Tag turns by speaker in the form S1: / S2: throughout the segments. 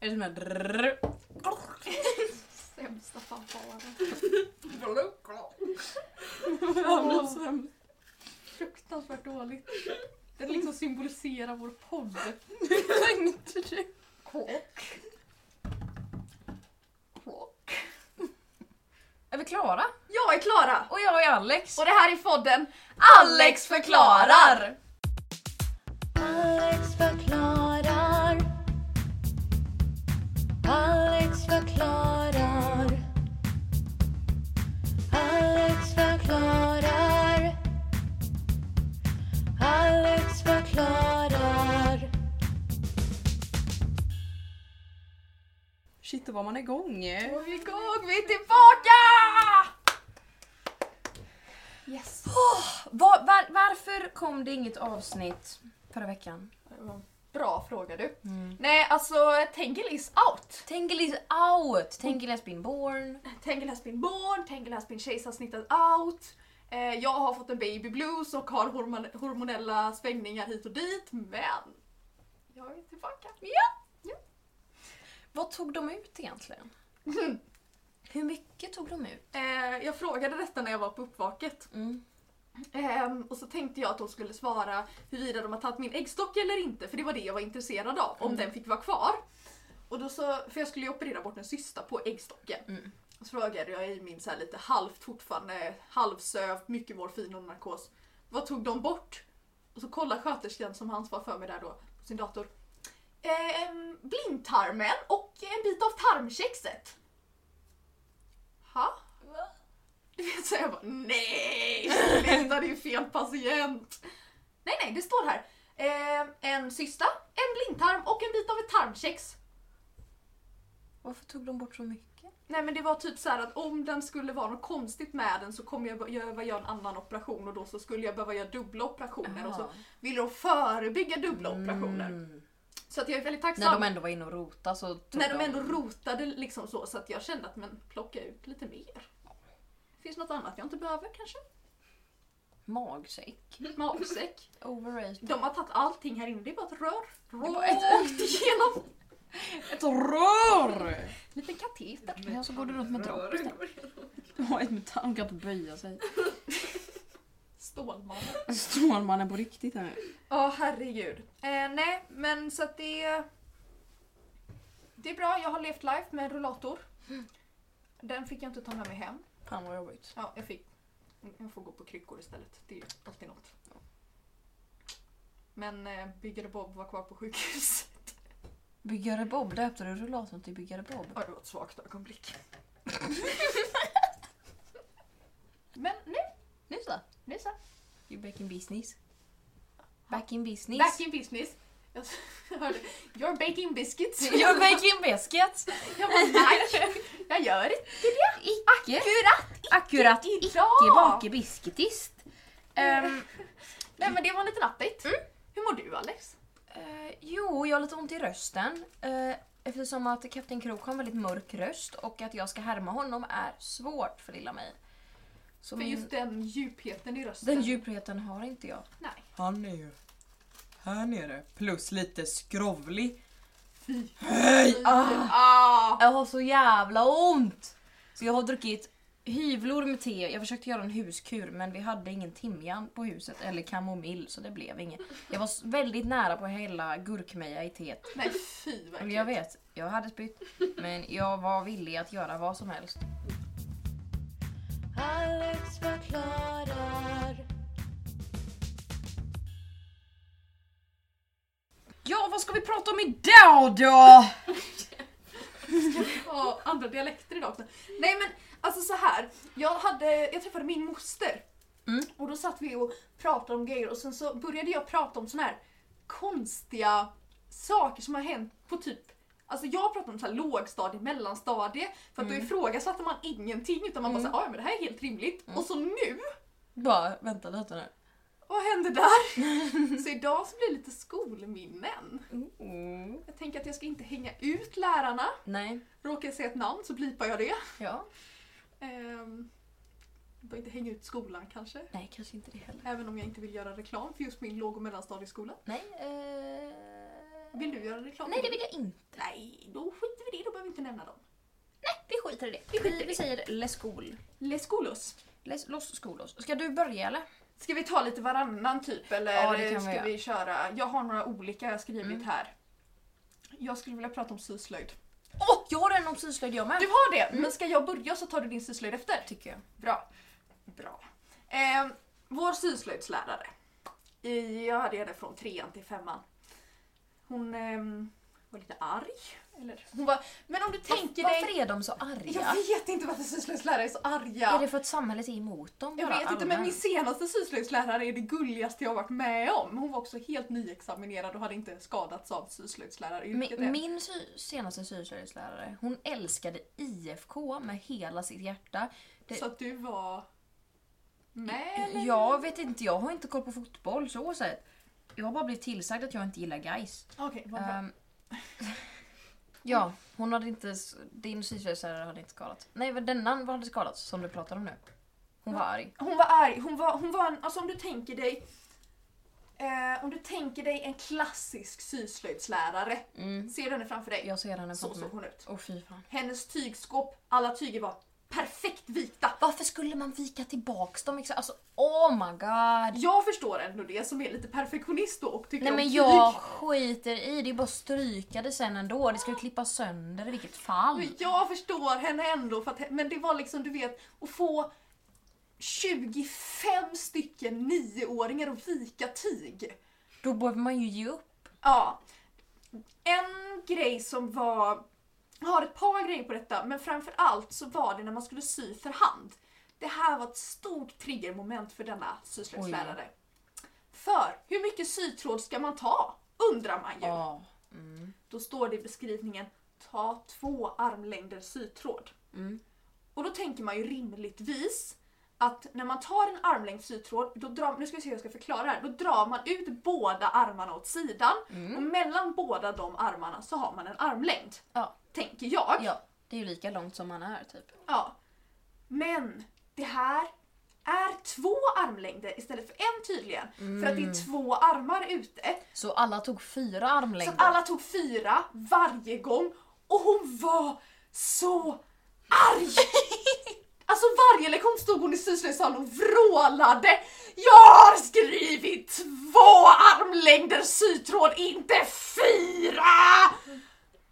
S1: Är det som en... drrrr?
S2: Sämsta fanfaren.
S1: Fan, det är sämst.
S2: Fruktansvärt dåligt. Den liksom symboliserar vår podd. Tänkte du? Klock. Klock.
S1: Är vi klara?
S2: Jag är Klara
S1: Och jag är Alex.
S2: och det här är podden
S1: Alex förklarar!
S3: Alex förklarar. Alex förklarar. Alex förklarar. Alex förklarar.
S1: Shit, då var man igång.
S2: Och vi är igång, vi är tillbaka! Yes.
S1: Var, var, varför kom det inget avsnitt förra veckan?
S2: Bra fråga du.
S1: Mm.
S2: Nej, alltså Tengil is out.
S1: Tengil is out! Tengil has been born.
S2: Tengil has been born, Tengil has been kejsarsnittad out. Eh, jag har fått en baby blues och har hormon- hormonella svängningar hit och dit, men jag är tillbaka.
S1: Vad tog de ut egentligen? Hur mycket tog de ut?
S2: Eh, jag frågade detta när jag var på uppvaket
S1: Mm.
S2: Ehm, och så tänkte jag att hon skulle svara huruvida de har tagit min äggstock eller inte, för det var det jag var intresserad av, om den fick vara kvar. Och då så, för jag skulle ju operera bort en cysta på äggstocken.
S1: Mm.
S2: Och så frågade jag i min så här lite halvt fortfarande, halvsövt, mycket morfin och narkos. Vad tog de bort? Och så kollar sköterskan som har ansvar för mig där då på sin dator. Ehm, blindtarmen och en bit av tarmkexet. Ha? Du vet så jag bara nej, sluta det är ju fel patient. Nej nej, det står här. Ehm, en cysta, en blindtarm och en bit av ett tarmkex.
S1: Varför tog de bort så mycket?
S2: Nej men det var typ så här att om den skulle vara något konstigt med den så kommer jag behöva göra en annan operation och då så skulle jag behöva göra dubbla operationer och så
S1: Aha.
S2: ville de förebygga dubbla operationer.
S1: Mm.
S2: Så att jag är väldigt
S1: När
S2: tacksam.
S1: de ändå var inne och rotade så tog
S2: När de ändå rotade liksom så så att jag kände att men plocka ut lite mer. Finns något annat jag inte behöver kanske?
S1: Magsäck.
S2: Magsäck.
S1: Overrated.
S2: De har tagit allting här inne, det är bara ett rör. Rakt igenom.
S1: Ett rör!
S2: Lite kateter.
S1: Ja, så går du runt med dropp Ja, ett metall. De kan inte böja sig.
S2: Stålmannen.
S1: Stålmannen på riktigt här.
S2: Ja, herregud. Eh, nej, men så att det... Det är bra, jag har levt life med en rullator. Den fick jag inte ta med mig hem.
S1: Fan vad jobbigt.
S2: Ja, jag fick... Jag får gå på kryckor istället. Det är ju alltid något. Men eh, Byggare Bob var kvar på sjukhus.
S1: Byggare Bob, döpte du rullatorn till Byggare Bob?
S2: Ja, det var ett svagt ögonblick. men nu,
S1: Nu så.
S2: nu så.
S1: You're back in business. Back in business.
S2: Back in business. Jag hörde, You're baking biscuits.
S1: You're back in biscuits.
S2: Jag bara, nej, jag gör det.
S1: Icke. Akkurat.
S2: idag.
S1: Icke bake biscuitist. Ehm,
S2: Nej men det var en liten update.
S1: Mm.
S2: Hur mår du Alex?
S1: eh, jo, jag har lite ont i rösten. Eh, eftersom att Kapten Krok har en väldigt mörk röst och att jag ska härma honom är svårt för lilla mig. Så
S2: För
S1: min,
S2: just den djupheten i rösten.
S1: den djupheten har inte jag.
S2: Nej.
S4: Han är ju här nere. Plus lite skrovlig.
S2: Ah. Ah.
S1: Jag har så jävla ont! Så jag har druckit hyvlor med te. Jag försökte göra en huskur men vi hade ingen timjan på huset eller kamomill så det blev inget. Jag var s- väldigt nära på att hälla gurkmeja i teet.
S2: Nej fy
S1: Och
S2: verkligen.
S1: jag vet, jag hade spytt. Men jag var villig att göra vad som helst.
S3: Alex förklarar.
S1: Ja, vad ska vi prata om idag då?
S2: Ja, andra dialekter idag också. Nej men alltså så här. Jag, hade, jag träffade min moster.
S1: Mm.
S2: Och då satt vi och pratade om grejer och sen så började jag prata om såna här konstiga saker som har hänt på typ Alltså jag pratar om så här lågstadie, mellanstadie för att då ifrågasatte man ingenting utan man bara såhär, ja men det här är helt rimligt. Och så nu,
S1: Bara vänta lite nu.
S2: vad hände där? så idag så blir det lite skolminnen.
S1: Mm.
S2: Jag tänker att jag ska inte hänga ut lärarna.
S1: Nej,
S2: Råkar jag säga ett namn så blipar jag det.
S1: ja.
S2: Ehm, jag behöver inte hänga ut skolan kanske.
S1: Nej, kanske inte det heller.
S2: Även om jag inte vill göra reklam för just min låg och mellanstadieskola.
S1: Nej, eh...
S2: Vill du göra reklam?
S1: Nej, det vill jag inte.
S2: Nej, då skiter vi i det. Då behöver vi inte nämna dem.
S1: Nej, vi skiter i det. Vi, skiter i det. vi säger Les Cool.
S2: Les Colos.
S1: Les, los Skolos. Ska du börja eller?
S2: Ska vi ta lite varannan typ eller
S1: Ja, det kan vi
S2: ska
S1: göra.
S2: vi, köra? Jag har några olika jag har skrivit
S1: Mm.
S2: här. Jag skulle vilja prata om syslöjd.
S1: Åh, jag har en om syslöjd jag med.
S2: Du har det,
S1: Mm.
S2: men ska jag börja så tar du din syslöjd efter.
S1: tycker jag.
S2: Bra. Bra. Eh, vår syslöjdslärare. I, jag hade henne från trean till femman. Hon ehm, var lite arg. Eller, hon var, men om du tänker
S1: Varför
S2: dig...
S1: är de så arga?
S2: Jag vet inte varför syslöjdslärare är så arga.
S1: Är det för att samhället är emot dem?
S2: Jag
S1: bara
S2: vet inte men min
S1: allmänt?
S2: senaste syslöjdslärare är det gulligaste jag har varit med om. Hon var också helt nyexaminerad och hade inte skadats av syslöjdsläraryrket
S1: Min,
S2: än.
S1: min sy- senaste syslöjdslärare, hon älskade IFK med hela sitt hjärta. det-
S2: Så att du var med eller?
S1: Jag vet inte, jag har inte koll på fotboll så sett. Jag har bara blivit tillsagd att jag inte gillar guys.
S2: Okej, vad bra.
S1: Ehm, ja, hon hade inte, s- din syslöjdslärare hade inte skadats. Nej, men denna hade skadats som du pratar om nu. Hon var arg.
S2: Hon var arg. Hon var, hon var en, alltså om du tänker dig eh, om du tänker dig en klassisk syslöjdslärare.
S1: Mm.
S2: Ser du henne framför dig?
S1: Jag ser henne
S2: så
S1: framför
S2: såg
S1: mig.
S2: hon ut.
S1: Åh fy fan.
S2: Hennes tygskåp, alla tyger var perfekt vikta.
S1: Varför skulle man vika tillbaks dem? exakt? Alltså, oh my god!
S2: Jag förstår ändå det som är lite perfektionist då och tycker
S1: Nej
S2: om
S1: men
S2: tyg.
S1: jag skiter i det, är bara att stryka det sen ändå. Det ska ju klippas sönder i vilket fall.
S2: Men jag förstår henne ändå, för att, he- men det var liksom du vet att få 25 stycken nioåringar att vika tyg.
S1: Då behöver man ju ge upp.
S2: Ja. En grej som var, jag har ett par grejer på detta, men framför allt så var det när man skulle sy för hand. Det här var ett stort triggermoment för denna syslöjdslärare. För hur mycket sytråd ska man ta? Undrar man ju.
S1: Ja.
S2: Då står det i beskrivningen ta två armlängder sytråd.
S1: Mm.
S2: Och då tänker man ju rimligtvis att när man tar en armlängd sytråd, då drar, nu ska vi se hur jag ska förklara det här, då drar man ut båda armarna åt sidan
S1: Mm.
S2: och mellan båda de armarna så har man en armlängd.
S1: Ja.
S2: Tänker jag.
S1: ja. Det är ju lika långt som man är typ.
S2: Ja. Men det här är två armlängder istället för en tydligen. För
S1: Mm.
S2: att det är två armar ute.
S1: Så alla tog fyra
S2: Så att
S1: armlängder.
S2: alla tog fyra varje gång och hon var så arg! Alltså varje lektion stod hon i syslöjdssalen och vrålade. Jag har skrivit två armlängder sytråd, inte fyra!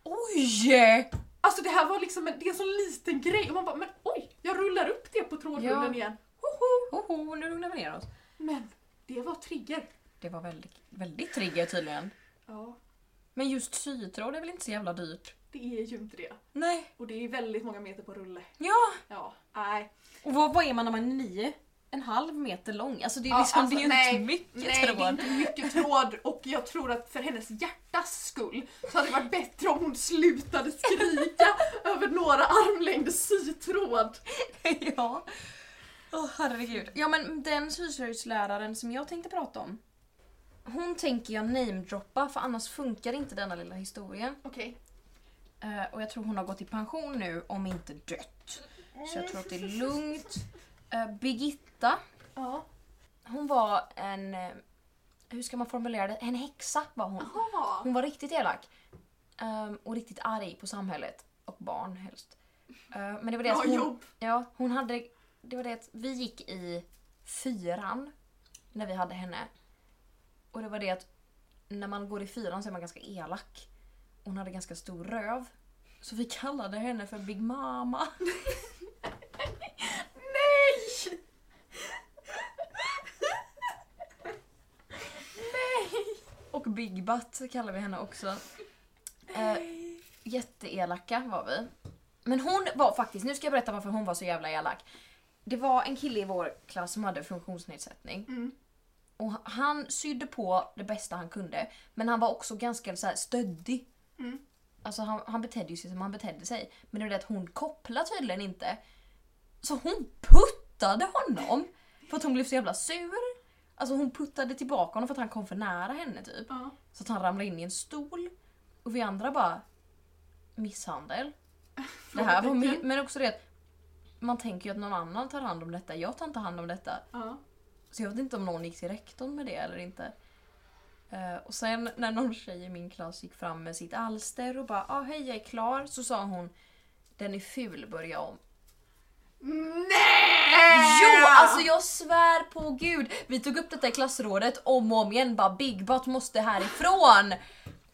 S1: Oj!
S2: Alltså det här var liksom en, det är en sån liten grej och man bara men oj, jag rullar upp det på trådrullen
S1: Ja.
S2: igen.
S1: Hoho, nu lugnar vi ner oss.
S2: Men det var trigger.
S1: Det var väldigt, väldigt trigger tydligen.
S2: Ja,
S1: Men just sytråd är väl inte så jävla dyrt?
S2: det är ju inte det.
S1: Nej.
S2: Och det är väldigt många meter på rulle.
S1: Ja.
S2: Ja, nej.
S1: Och vad, vad är man när man är nio? En halv meter lång? Alltså det är,
S2: Ja,
S1: liksom,
S2: alltså,
S1: det är ju
S2: nej,
S1: inte mycket
S2: Nej, det är
S1: tråd.
S2: inte mycket tråd och jag tror att för hennes hjärtas skull så hade det varit bättre om hon slutade skrika över några armlängder sytråd.
S1: ja. Åh herregud. Ja men den syslöjdsläraren som jag tänkte prata om. Hon tänker jag namedroppa för annars funkar inte denna lilla historien.
S2: Okej.
S1: Eh, och jag tror hon har gått i pension nu om inte dött. Så jag tror att det är lugnt. Eh, Birgitta.
S2: Ja.
S1: Hon var en... eh, Hur ska man formulera det? En häxa var hon.
S2: Jaha.
S1: Hon var riktigt elak. Ehm, och riktigt arg på samhället. Och barn helst. Ehm, men det var det
S2: Bra
S1: att hon,
S2: jobb.
S1: ja, hon hade... Det var det att vi gick i fyran när vi hade henne. Och det var det att när man går i fyran så är man ganska elak. Hon hade ganska stor röv. Så vi kallade henne för Big Mama.
S2: Nej!
S1: Och Big Butt kallar vi henne också. Eh, jätteelaka var vi. Men hon var faktiskt, nu ska jag berätta varför hon var så jävla elak. Det var en kille i vår klass som hade funktionsnedsättning.
S2: Mm.
S1: Och han sydde på det bästa han kunde, men han var också ganska så här stöddig.
S2: Mm.
S1: Alltså han, han betedde ju sig som han betedde sig. Men det var det att hon kopplade tydligen inte. Så hon puttade honom för att hon blev så jävla sur. Alltså hon puttade tillbaka honom för att han kom för nära henne typ.
S2: Ja.
S1: Så att han ramlade in i en stol. Och vi andra bara... Misshandel. Det här var min, men också det att man tänker ju att någon annan tar hand om detta. Jag tar inte hand om detta.
S2: Ja.
S1: Så jag vet inte om någon gick till rektorn med det eller inte. Eh, Eh, och sen när någon tjej i min klass gick fram med sitt alster och bara ah, hej jag är klar så sa hon den är ful, börja om.
S2: Nej!
S1: Jo, alltså jag svär på gud. Vi tog upp detta i klassrådet om och om igen. Bara Big Butt måste härifrån.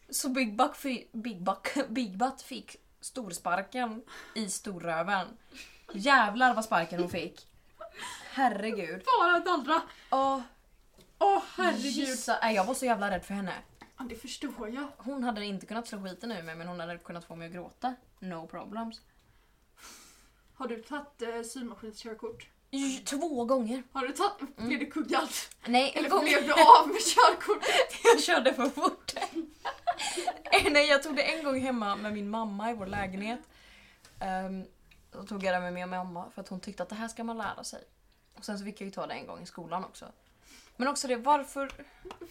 S1: Så Big Butt, fi- Big Butt, Big Butt fick storsparken i storröven. Jävlar vad sparken hon fick. Herregud.
S2: Bara dallra.
S1: Åh,
S2: Åh herregud.
S1: gissa. Nej, jag var så jävla rädd för henne.
S2: Ja, det förstår jag.
S1: Hon hade inte kunnat slå skiten ur mig men hon hade kunnat få mig att gråta. No problems.
S2: Har du tagit eh, symaskinskörkort?
S1: J- Två gånger.
S2: Har du tagit... Blev du kuggad?
S1: Nej, en
S2: Eller
S1: gång.
S2: blev du av med körkort?
S1: Jag körde för fort. Eh, Nej, jag tog det en gång hemma med min mamma i vår lägenhet. Um, då tog jag det med min mamma för att hon tyckte att det här ska man lära sig. Och sen så fick jag ju ta det en gång i skolan också. Men också det, varför...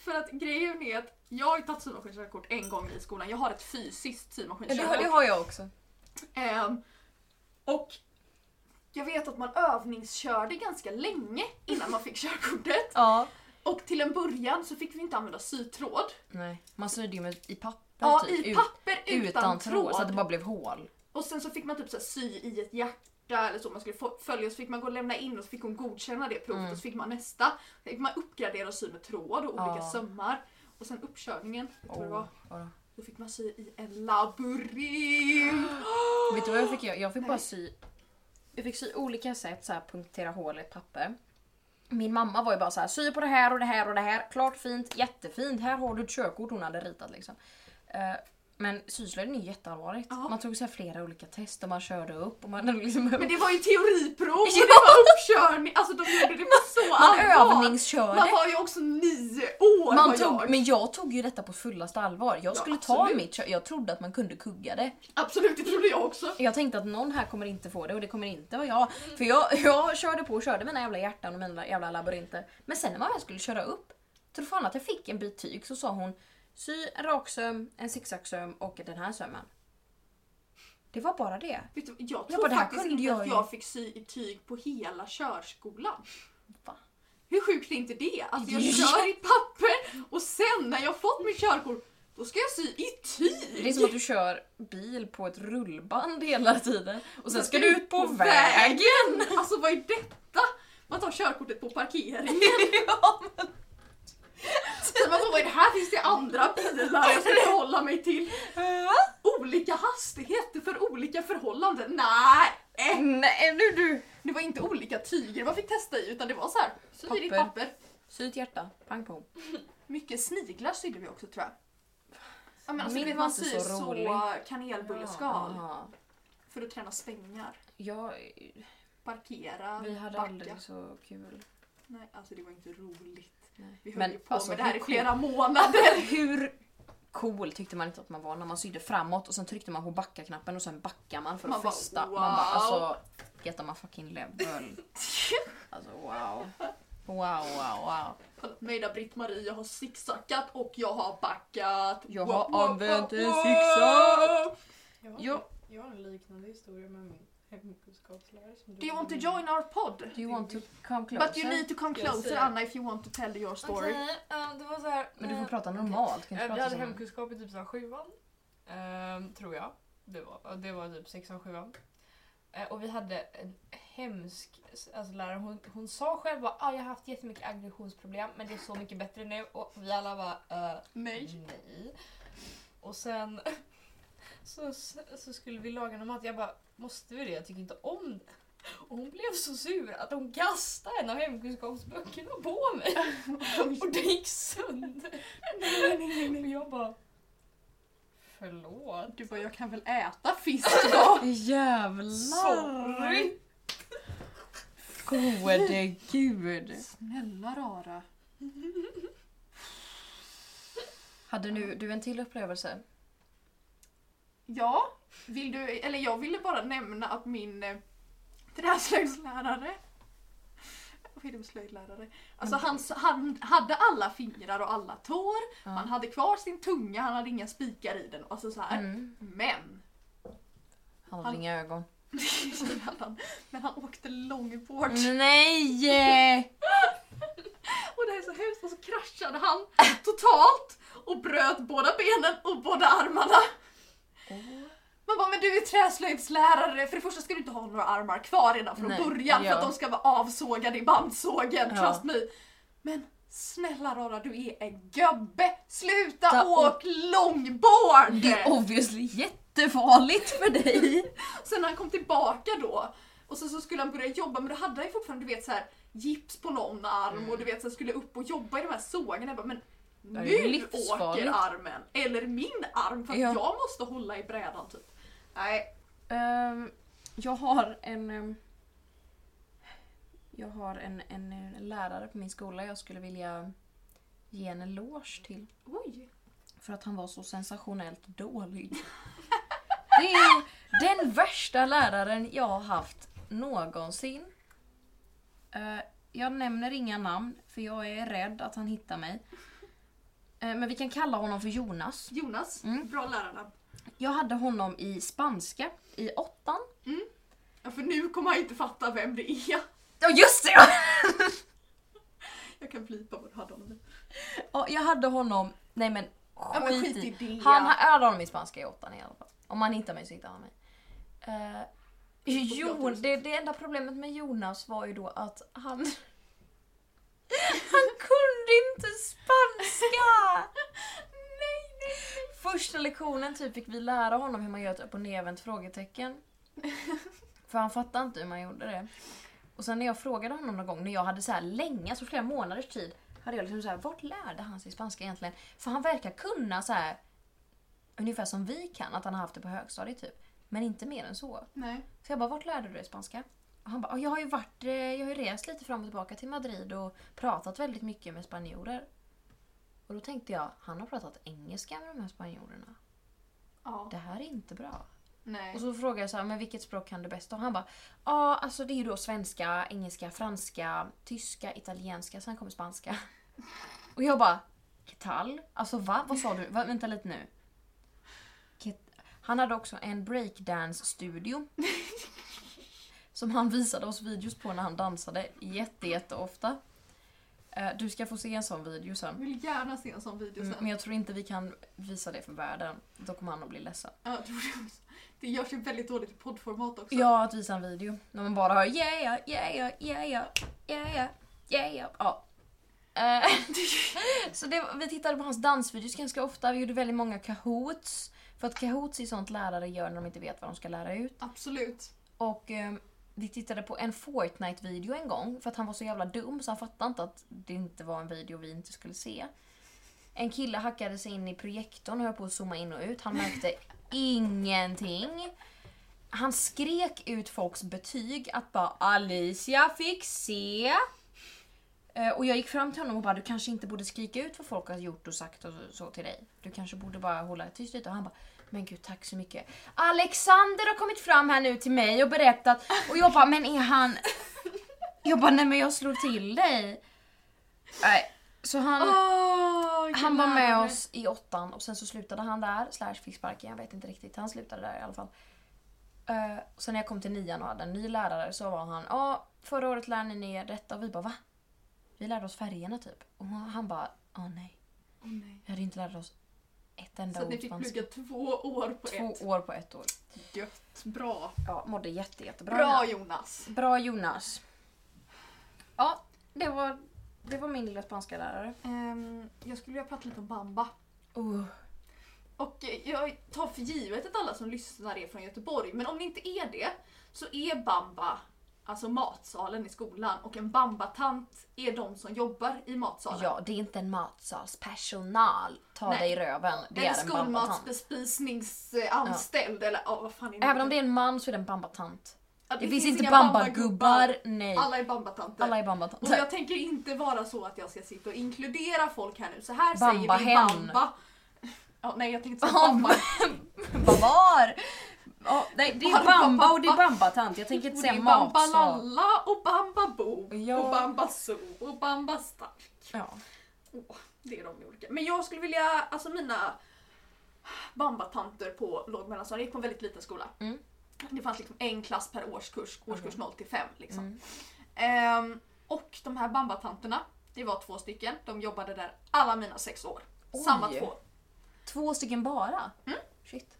S2: För att grejen är att jag har ju tagit symaskinskörkort en gång i skolan. Jag har ett fysiskt
S1: Ja, det, har, det
S2: symaskinskörkort.
S1: har jag också.
S2: Ehm, och jag vet att man övningskörde ganska länge innan man fick körkortet.
S1: Ja.
S2: Och till en början så fick vi inte använda sytråd.
S1: Nej, man sydde ju med, i papper
S2: Ja,
S1: typ.
S2: i
S1: ut-
S2: papper utan, tråd.
S1: Så att det bara blev hål.
S2: Och sen så fick man typ så här sy i ett hjärta eller så man skulle få- följa så fick man gå och lämna in och så fick hon godkänna det provet
S1: Mm.
S2: och så fick man nästa. Sen fick man uppgradera och sy med tråd och olika
S1: Ja.
S2: sömmar. Och sen uppkörningen, vet du vad det var?
S1: vadå?
S2: Då fick man sy i en labyrint. Åh!
S1: Vet du vad jag fick göra? Jag fick bara
S2: Nej.
S1: sy... Jag fick sy olika sätt, så här, punktera hål i ett papper. Min mamma var ju bara så här, sy på det här och det här och det här. Klart fint, jättefint. Här har du ett körkort hon hade ritat liksom. Eh, men syslöjden är ju jätteallvarligt.
S2: Ja.
S1: Man tog så här flera olika test och man körde upp och man liksom...
S2: Men det var ju teoriprov och det var uppkörning. Alltså de gjorde det på så
S1: man
S2: allvar.
S1: övningskörde.
S2: Man var ju också nio år
S1: Man
S2: var
S1: tog,
S2: jag.
S1: men jag tog ju detta på fullaste allvar. Jag
S2: Ja,
S1: skulle ta
S2: absolut.
S1: mitt kö- Jag trodde att man kunde kugga det.
S2: Absolut, det trodde jag också.
S1: Jag tänkte att någon här kommer inte få det och det kommer inte vara jag. För jag, jag körde på och körde mina jävla hjärtan och mina jävla labyrinter. Men sen när man väl skulle köra upp, tror fan att jag fick en bit tyg så sa hon sy en raksöm, en zigzagsöm och den här sömmen. Det var bara det.
S2: Vet du, jag
S1: bara,
S2: tror
S1: det här
S2: faktiskt
S1: kunde
S2: inte
S1: jag
S2: att
S1: ju.
S2: jag fick sy i tyg på hela körskolan.
S1: Va?
S2: Hur sjukt är inte det? Alltså jag
S1: Ja.
S2: kör i papper och sen när jag fått mitt körkort då ska jag sy i tyg!
S1: Det är som att du kör bil på ett rullband hela tiden och sen ska du ut på väg.
S2: vägen! Alltså vad är detta? Man tar körkortet på parkeringen.
S1: Ja, men-
S2: Sen man bara, vad är det här? Finns det andra bilar jag ska förhålla mig till? Olika hastigheter för olika förhållanden? Nej! eh.
S1: Nej nu du!
S2: Det var inte olika tyger man fick testa i utan det var så här, sy i ditt
S1: Papper.
S2: papper.
S1: Sy ett hjärta, pang på.
S2: Mycket sniglar sydde vi också tror jag. Ja, men alltså,
S1: Min
S2: Min
S1: var
S2: man
S1: inte
S2: syr
S1: så
S2: så,
S1: rolig.
S2: kanelbulleskal
S1: Ja,
S2: för att träna svängar,
S1: jag
S2: parkera,
S1: Vi hade
S2: backa.
S1: aldrig så kul.
S2: Nej, alltså det var inte roligt. Vi höll
S1: Men
S2: ju på
S1: alltså,
S2: med det här
S1: hur
S2: i
S1: cool-
S2: flera månader.
S1: Hur cool tyckte man inte att man var när man sydde framåt och sen tryckte man på backa-knappen och sen backar man för att
S2: Man bara,
S1: fästa.
S2: wow.
S1: Man bara alltså get on my fucking level. Alltså wow. Wow wow wow.
S2: Mejda Britt-Marie, jag har zigzackat och jag har backat.
S1: Jag
S2: Wow,
S1: har
S2: wow, wow,
S1: använt en
S2: wow.
S1: zigzag.
S5: Jag har,
S1: Jo.
S5: jag har en liknande historia med min hemkunskapslärare. Som
S2: Do you want to join our pod?
S1: Do you want to come closer?
S2: But you need to come
S5: Jag
S2: closer
S5: ser.
S2: Anna if you want to tell your story.
S5: det var så här,
S1: Men du
S5: eh,
S1: får prata
S2: Mm,
S1: normalt. Kan
S5: eh,
S1: inte
S5: Vi
S1: prata
S5: hade
S1: som...
S5: hemkunskap i typ så här sjuan. ehm, tror jag. Det var, det var typ sexan, sjuan. Eh, och vi hade en hemsk alltså, lärare. Hon, hon sa själv att ah, jag har haft jättemycket aggressionsproblem men det är så mycket bättre nu. Och vi alla bara eh,
S2: Nej.
S5: Nej. Och sen så, så skulle vi laga någon mat. Jag bara, måste vi det? Jag tycker inte om det. Och hon blev så sur att hon kastade en av hemkunskapsböckerna på mig. Och det gick sönder. Och jag bara, förlåt.
S2: Du bara, jag kan väl äta fisk idag?
S1: Jävlar!
S5: Sorry.
S1: Gode gud.
S2: Snälla rara.
S1: Hade nu, du en till upplevelse?
S2: Ja, vill du, eller jag ville bara nämna att min eh, träslöjdslärare filmslöjdlärare. Alltså han, han hade alla fingrar och alla tår.
S1: Ja.
S2: Han hade kvar sin tunga, han hade inga spikar i den. Alltså så här.
S1: Mm.
S2: Men,
S1: Han hade
S2: Han-
S1: inga ögon.
S2: men han åkte långbord.
S1: Nej!
S2: Och det här är så hemskt. och så kraschade han totalt och bröt båda benen och båda armarna. Man bara, men du är träslöjdslärare. För det första ska du inte ha några armar kvar redan från
S1: Nej,
S2: början
S1: ja.
S2: för att de ska vara avsågade i bandsågen.
S1: Ja.
S2: Trust me. Men snälla rara, du är en gubbe. Sluta
S1: Ta-
S2: åk långbord!
S1: Det är obviously jättefarligt för dig.
S2: Sen när han kom tillbaka då och sen så skulle han börja jobba men då hade han ju fortfarande du vet så här, gips på någon arm och du vet sen skulle upp och jobba i de här sågarna. Jag bara, men
S1: Mm. är
S2: nu åker
S1: livsfarligt.
S2: armen! Eller min arm för att
S1: Ja.
S2: jag måste hålla i brädan typ. Nej,
S1: Ehm, jag har en... ehm, jag har en, en eh, lärare på min skola jag skulle vilja ge en eloge till.
S2: oj.
S1: För att han var så sensationellt dålig. Det är den värsta läraren jag har haft någonsin. Eh, Jag nämner inga namn för jag är rädd att han hittar mig. Eh, Men vi kan kalla honom för Jonas.
S2: Jonas,
S1: Mm.
S2: bra lärarna.
S1: Jag hade honom i spanska i åttan.
S2: Ja, för nu kommer han inte fatta vem det är.
S1: Ja just det!
S2: Jag kan flipa vad du hade honom i.
S1: Ja, jag hade honom, nej men skit,
S2: Ja, men skit
S1: i.
S2: i det.
S1: Han jag hade honom i spanska i åttan i alla fall. Om han hittar mig så hittar han mig. Eh, jo,
S2: Jonas.
S1: det, det enda problemet med Jonas var ju då att han... han kunde inte spanska! nej, nej, Första lektionen typ fick vi lära honom hur man gör ett upp och nervänt frågetecken. För han fattade inte hur man gjorde det. Och sen när jag frågade honom någon gång, när jag hade så här länge, alltså flera månaders tid, hade jag liksom så här, vart lärde han sig spanska egentligen? För han verkar kunna så här ungefär som vi kan, att han har haft det på högstadiet typ. Men inte mer än så.
S2: Nej.
S1: Så jag bara, vart lärde du dig spanska? Och han bara, "Ja, jag har ju varit, eh, jag har ju rest lite fram och tillbaka till Madrid och pratat väldigt mycket med spanjorer. Och då tänkte jag, han har pratat engelska med de här spanjorerna.
S2: Ja.
S1: Det här är inte bra.
S2: Nej.
S1: Och så frågade jag så här, men vilket språk kan du bäst? Och han bara, ja alltså det är ju då svenska, engelska, franska, tyska, italienska, sen kommer spanska. Och jag bara, ketal? Alltså va? Vad sa du? Va? Vänta lite nu. Ket- Han hade också en breakdance-studio. som han visade oss videos på när han dansade jätte, jätteofta. Eh, Du ska få se en sån video sen.
S2: Jag vill gärna se en sån video sen.
S1: Mm, Men jag tror inte vi kan visa det för världen. Då kommer han att bli ledsen.
S2: Ja, jag tror det, också. det görs ju väldigt dåligt i poddformat också.
S1: Ja, att visa en video. När man bara hör yeah, yeah, yeah, yeah, yeah, yeah, yeah. Ja. Eh, så det, var- vi tittade på hans dansvideos ganska ofta. Vi gjorde väldigt många kahoots. För att kahoots är sånt lärare gör när de inte vet vad de ska lära ut.
S2: Absolut.
S1: Och eh, vi tittade på en Fortnite-video en gång för att han var så jävla dum så han fattade inte att det inte var en video vi inte skulle se. En kille hackade sig in i projektorn och höll på att zooma in och ut. Han märkte ingenting. Han skrek ut folks betyg att bara Alicia fick se. Eh, Och jag gick fram till honom och bara du kanske inte borde skrika ut vad folk har gjort och sagt och så- så till dig. Du kanske borde bara hålla tyst lite. Och han bara men gud tack så mycket. Alexander har kommit fram här nu till mig och berättat och jag bara men är han... Jag bara nej men jag slår till dig. Nej. Så han...
S2: Åh, vilken
S1: Han var med
S2: lärare.
S1: oss i åttan och sen så slutade han där, slash fick sparken, jag vet inte riktigt. Han slutade där i alla fall. Eh, och sen när jag kom till nian och hade en ny lärare så var han ja, förra året lärde ni er detta och vi bara va? Vi lärde oss färgerna typ. Och han bara, åh nej,
S2: Åh, nej.
S1: vi hade inte lärt oss ett enda
S2: Så att ni
S1: ord
S2: fick
S1: spanska.
S2: plugga två år på
S1: Två
S2: ett.
S1: år på ett år.
S2: Gött. Bra.
S1: Ja, mådde jätte, jättebra.
S2: Bra, Jonas.
S1: Bra Jonas. Ja, det var, det var min lilla spanska lärare.
S2: Ehm, jag skulle vilja prata lite om Bamba.
S1: Uh,
S2: Och eh, jag tar för givet att alla som lyssnar är från Göteborg, men om ni inte är det så är Bamba alltså matsalen i skolan och en Bambatant är de som jobbar i matsalen.
S1: ja, det är inte en matsals. Personal, ta
S2: Nej.
S1: dig i röven. Det
S2: en
S1: är en bambatant.
S2: skolmatsbespisningsanställd eller ja, vad fan är det?
S1: Även om det är en man så är det en bambatant.
S2: Ja,
S1: Det, finns inte
S2: inga
S1: bambagubbar, nej.
S2: Alla är Bambatanter.
S1: Alla är
S2: Och
S1: bambatanter.
S2: jag tänker inte vara så att jag ska sitta och inkludera folk här nu. Så här säger vi
S1: Bambahen.
S2: bamba. Ja, nej jag tänkte säga
S1: Ja,
S2: bamba.
S1: Bambar! Ja, nej, det är
S2: Bamba,
S1: bamba och det är
S2: bamba.
S1: bambatant. Jag tänker inte
S2: Och det är
S1: säga matsal.
S2: bambalalla och bambabo
S1: Ja.
S2: och bambaso och bambasta.
S1: Ja.
S2: Åh, det är de olika. Men jag skulle vilja, alltså mina bambatanter på låg och mellanstadiet, jag gick på en väldigt liten skola.
S1: Mm.
S2: Det fanns liksom en klass per årskurs, årskurs 0 till 5 liksom.
S1: Mm.
S2: Ehm, och de här bambatanterna, Det var två stycken. De jobbade där alla mina sex år. Samma
S4: Oj.
S2: två.
S1: Två stycken bara? Shit.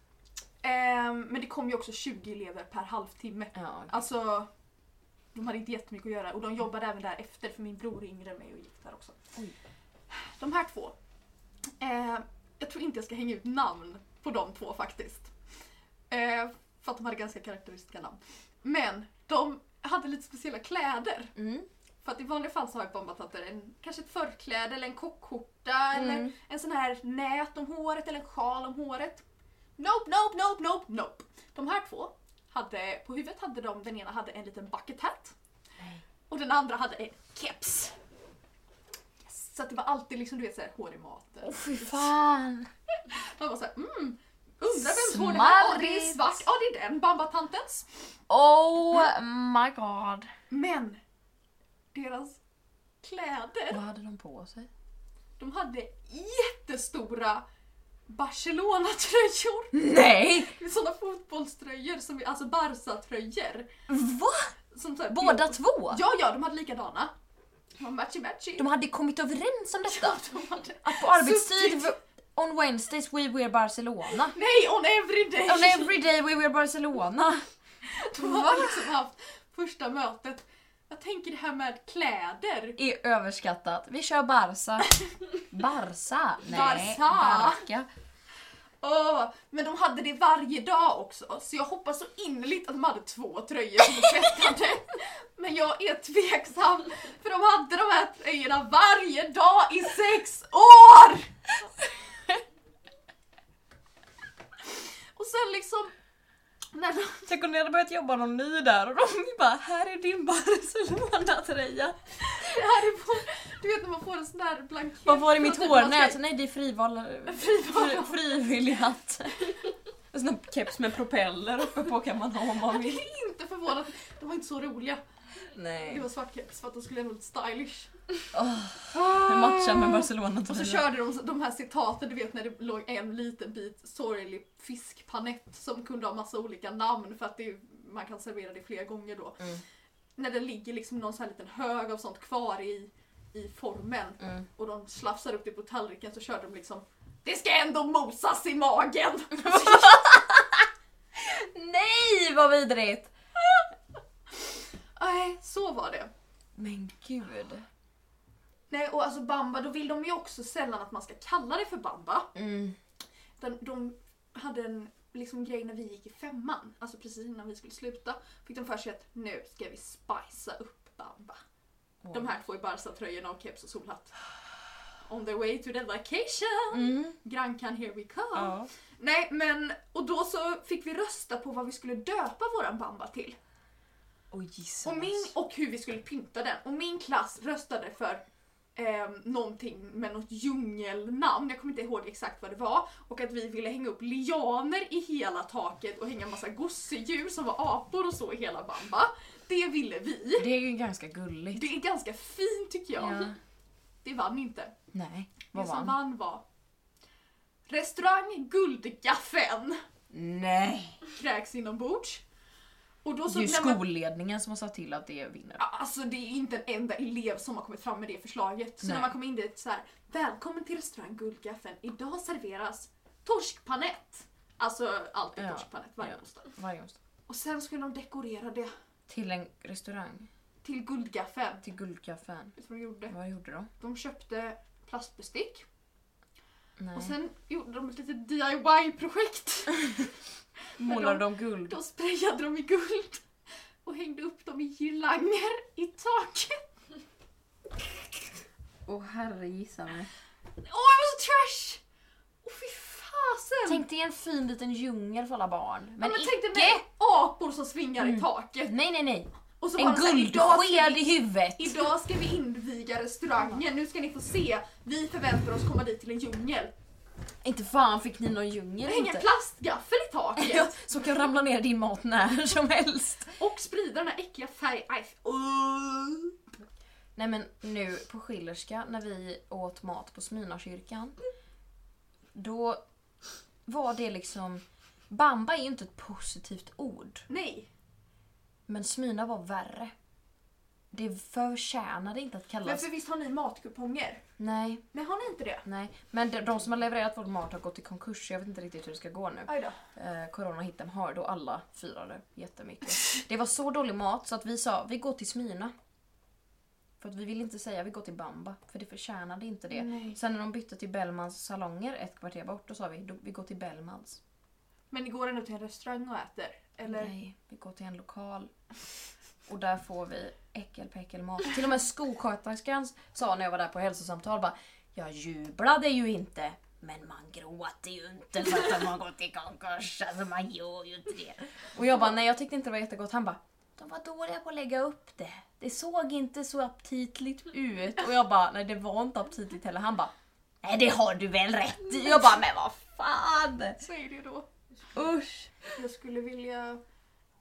S2: Ehm, men det kom ju också 20 elever per halvtimme.
S1: Ja,
S2: Alltså, de hade inte jättemycket att göra och de jobbade även där efter för min bror är yngre än mig och gick där också.
S1: Oj.
S2: De här två. Eh, jag tror inte jag ska hänga ut namn på de två faktiskt. Eh, för att de hade ganska karaktäristiska namn. Men de hade lite speciella kläder.
S1: Mm.
S2: För att i vanliga fall så har jag bombattanter en, kanske ett förkläde eller en kockskjorta eller
S1: Mm.
S2: en sån här nät om håret eller en sjal om håret. Nope, nope, nope, nope, nope. De här två hade, på huvudet hade de, den ena hade en liten bucket hat. Och den andra hade en keps. Yes. Så att det var alltid liksom du vet såhär hår i maten.
S1: fy fan.
S2: Man var såhär mm, undrar vems hår det här var? Det är
S1: Smarrigt.
S2: svart. Ja det är den bambatantens.
S1: Oh my god.
S2: Men deras kläder
S1: Vad hade de på sig?
S2: De hade jättestora Barcelona-tröjor!
S1: Nej!
S2: Sådana fotbollströjor, som, vi- alltså Barca-tröjor.
S1: Va?
S2: Som så här-
S1: Båda två?
S2: Ja, ja, de hade likadana. De var matchy matchy.
S1: De hade kommit överens om detta.
S2: De hade...
S1: Att på arbetstid, on Wednesdays we wear Barcelona.
S2: Nej, on every day!
S1: On every day we wear Barcelona.
S2: De har liksom haft första mötet. Jag tänker det här med kläder.
S1: Är överskattat. Vi kör Barca. Barca? Nej,
S2: Barca.
S1: Barca.
S2: Åh, men de hade det varje dag också, så jag hoppas så innerligt att de hade två tröjor som de tvättade. men jag är tveksam, för de hade de här tröjorna varje dag i sex år! Och sen liksom, när de,
S1: Tänk om ni hade börjat jobba någon ny där och de bara “Här är din Barcelona-tröja”.
S2: det här är på, du vet när man får en sån där blankett.
S1: Vad var det i mitt
S2: Typ man ska-
S1: hårnät? Nej, det är frival...
S2: Frival.
S1: Fri, frivillig hatt. En sån där keps med propeller uppe på kan man ha om man vill.
S2: Inte förvånad, de var inte så roliga. Det
S1: Nej.
S2: var svart keps för att de skulle ändå lite stylish.
S1: Det matchar med
S2: Och så
S1: Barcelona-tröjan.
S2: körde de de här citaten, du vet när det låg en liten bit sorglig fiskpanett som kunde ha massa olika namn för att det, man kan servera det flera gånger då.
S1: Mm.
S2: När det ligger liksom någon sån här liten hög av sånt kvar i, i formen
S1: Mm.
S2: och de slafsar upp det på tallriken så körde de liksom Det ska ändå mosas i magen!
S1: Nej vad vidrigt!
S2: Nej, så var det.
S1: Men gud.
S2: Nej, och alltså bamba, då vill de ju också sällan att man ska kalla det för bamba.
S1: Mm.
S2: Den, de hade en liksom, grej när vi gick i femman, alltså precis innan vi skulle sluta, fick de för sig att nu ska vi spicea upp Bamba. De här två i Barca-tröjorna och keps och solhatt. On the way to the vacation!
S1: Mm.
S2: Grankan here we come!
S4: Ja.
S2: Nej men, och då så fick vi rösta på vad vi skulle döpa våran Bamba till.
S4: Och gissa alltså.
S2: Och, min, och hur vi skulle pynta den. Och min klass röstade för eh, någonting med något djungelnamn, jag kommer inte ihåg exakt vad det var. Och att vi ville hänga upp lianer i hela taket och hänga massa gosedjur som var apor och så i hela Bamba. Det ville vi.
S1: Det är ju ganska gulligt.
S2: Det är ganska fint tycker jag. Det vann inte.
S1: Nej.
S2: Det
S1: Vad
S2: som
S1: vann?
S2: vann var Restaurang Guldgaffeln
S1: Nej.
S2: kräks inombords. Och då
S1: Det
S2: så
S1: är ju
S2: när man-
S1: skolledningen som har sagt till att det vinner.
S2: Ja, Alltså det är inte en enda elev som har kommit fram med det förslaget. Så
S1: Nej.
S2: när man kommer in dit så här, Välkommen till restaurang Guldgaffeln. Idag serveras torskpanett. Alltså alltid
S1: Ja,
S2: torskpanett varje
S1: ja.
S2: onsdag.
S1: Varje onsdag.
S2: Och sen skulle de dekorera det
S1: Till en restaurang.
S2: till Guldgaffeln.
S1: Till guldkaffen.
S2: Vet du vad de gjorde?
S1: Vad gjorde de?
S2: De köpte plastbestick
S1: Nej.
S2: och sen gjorde de ett litet DIY-projekt.
S1: Målade de guld?
S2: Då sprayade de i guld och hängde upp dem i girlanger i taket.
S1: Åh oh, herre gissa mig.
S2: Åh, jag var så trash! Åh fy fasen!
S1: Tänk dig en fin liten djungel för alla barn. Men,
S2: Men, men tänk dig
S1: icke!
S2: med apor som svingar i taket.
S1: Nej nej nej.
S2: Och så
S1: En
S2: var det så här, "Idag ska
S1: guldsked
S2: vi-
S1: i huvudet.
S2: Idag ska vi inviga restaurangen, nu ska ni få se. Vi förväntar oss komma dit till en djungel.
S1: Inte fan fick ni någon djungel
S2: Hänga en
S1: inte.
S2: plastgaffel i
S1: Ja,
S2: taket
S1: Som kan ramla ner i din mat när som helst.
S2: och sprida den här äckliga färg... Aj, f- Åh.
S1: Nej men nu på Schillerska när vi åt mat på Smyrnakyrkan. Då var det liksom... Bamba är ju inte ett positivt ord.
S2: Nej.
S1: Men Smyrna var värre. det förtjänade inte att
S2: Men
S1: kallas...
S2: för visst har ni matkuponger?
S1: Nej,
S2: Nej, har ni inte det?
S1: nej. Men de, de som har levererat vår mat har gått i konkurs så jag vet inte riktigt hur det ska gå nu.
S2: Aj då.
S1: Eh, coronahitten har då alla firade jättemycket. Det var så dålig mat så att vi sa vi går till Smyrna. För att vi ville inte säga vi går till Bamba för det förtjänade inte det.
S2: Nej.
S1: Sen när de bytte till Bellmans salonger ett kvarter bort då sa vi då, vi går till Bellmans.
S2: Men ni går ändå till en restaurang och äter? Eller?
S1: Nej, vi går till en lokal. Och där får vi äckelpäckelmat. Till och med skolsköterskan sa när jag var där på hälsosamtal bara jag jublade ju inte men man gråter ju inte för att de har gått i konkurs. Alltså man gör ju inte det. Och jag bara nej jag tyckte inte det var jättegott. Han bara de var dåliga på att lägga upp det. Det såg inte så aptitligt ut. Och jag bara nej det var inte aptitligt heller. Han bara nej det har du väl rätt i. Jag bara men vad fan.
S2: Säg det då.
S1: Usch.
S2: Jag skulle vilja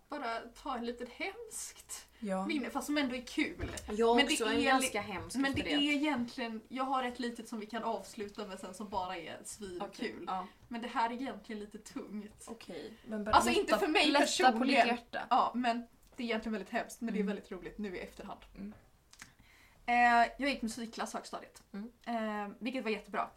S2: bara ta en liten hemskt
S1: Ja.
S2: minne, fast som ändå är kul.
S1: Jag
S2: Men det är li-
S1: hemsk
S2: Men det är egentligen, jag har ett litet som vi kan avsluta med sen som bara är svinkul.
S1: Ja.
S2: Men det här är egentligen lite tungt.
S1: Okej. Men bara
S2: Alltså
S1: lätta-
S2: inte för mig
S1: Lätta på ditt
S2: personligen.
S1: hjärta.
S2: Ja, men det är egentligen väldigt hemskt, men det är väldigt roligt nu i efterhand.
S1: Mm.
S2: Eh, jag gick musikklass högstadiet,
S1: Mm.
S2: eh, vilket var jättebra.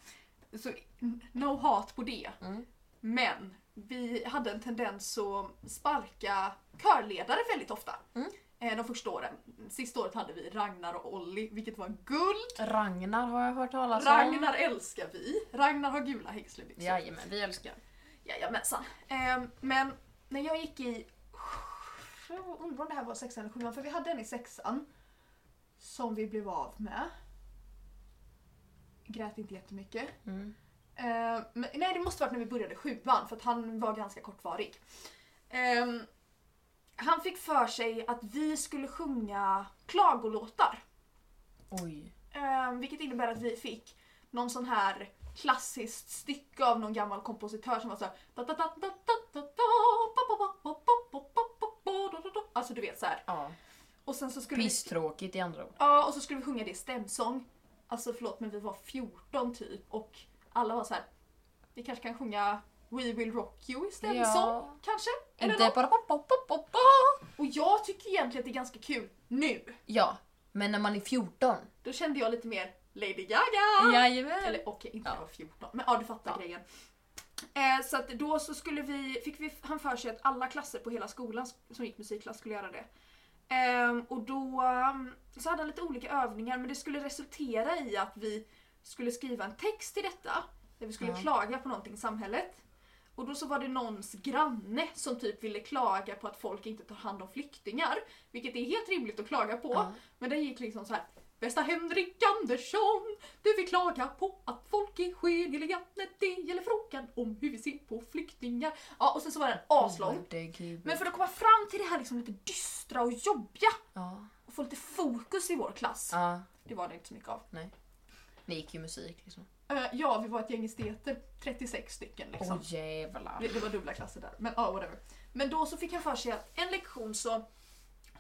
S2: Så n- no hat på det.
S1: Mm.
S2: Men vi hade en tendens att sparka körledare väldigt ofta.
S1: Mm.
S2: Eh, de första åren. Sista året hade vi Ragnar och Olli, vilket var guld.
S1: Ragnar har jag hört talas om.
S2: Ragnar älskar vi. Ragnar har gula liksom. hängslebyxor.
S1: Jajamän, vi älskar.
S2: Jajamensan. Eh, men när jag gick i... Jag undrar om det här var sexan eller sjuan, för vi hade en i sexan. Som vi blev av med. Grät inte jättemycket.
S1: Mm.
S2: Eh, men, nej, det måste varit när vi började sjuan för att han var ganska kortvarig. Ehm, han fick för sig att vi skulle sjunga klagolåtar.
S1: Oj.
S2: Ehm, vilket innebär att vi fick någon sån här klassiskt stycke av någon gammal kompositör som var såhär... Alltså du vet så här.
S1: Ja.
S2: Och sen så skulle vi...
S1: Pisstråkigt i andra ord.
S2: Ja, och så skulle vi sjunga det i stämsång. Alltså förlåt men vi var 14 typ och alla var så här. vi kanske kan sjunga We will rock you i stämsång
S1: Ja.
S2: kanske? Eller
S1: Inte
S2: något.
S1: bara pop, pop, pop, pop, pop.
S2: Och jag tycker egentligen att det är ganska kul nu.
S1: Ja, men när man är 14.
S2: Då kände jag lite mer Lady Gaga!
S1: Jajamän.
S2: Ah! Eller okej, inte när jag
S1: Ja.
S2: var 14. Men ja, du fattar
S1: Ja.
S2: grejen. Eh, så att då så skulle vi, fick vi han för sig att alla klasser på hela skolan sk- som gick musikklass skulle göra det. Ehm, och då ehm, så hade han lite olika övningar men det skulle resultera i att vi skulle skriva en text till detta. Där vi skulle
S1: Ja.
S2: klaga på någonting i samhället. Och då så var det någons granne som typ ville klaga på att folk inte tar hand om flyktingar. Vilket är helt rimligt att klaga på.
S1: Ja.
S2: Men den gick liksom så här. Bästa Henrik Andersson, du vill klaga på att folk är skenheliga när det gäller frågan om hur vi ser på flyktingar. Ja, och sen så var den aslång.
S1: Herregud.
S2: Men för att komma fram till det här liksom lite dystra och jobbiga
S1: Ja.
S2: och få lite fokus i vår klass.
S1: ja.
S2: Det var det inte så mycket av.
S1: Ni gick ju musik liksom.
S2: Eh, ja, vi var ett gäng esteter, 36 stycken
S1: Åh
S2: liksom.
S1: jävlar.
S2: Det, det var dubbla klasser där. Men ja, whatever. Men då så fick han för sig att en lektion så,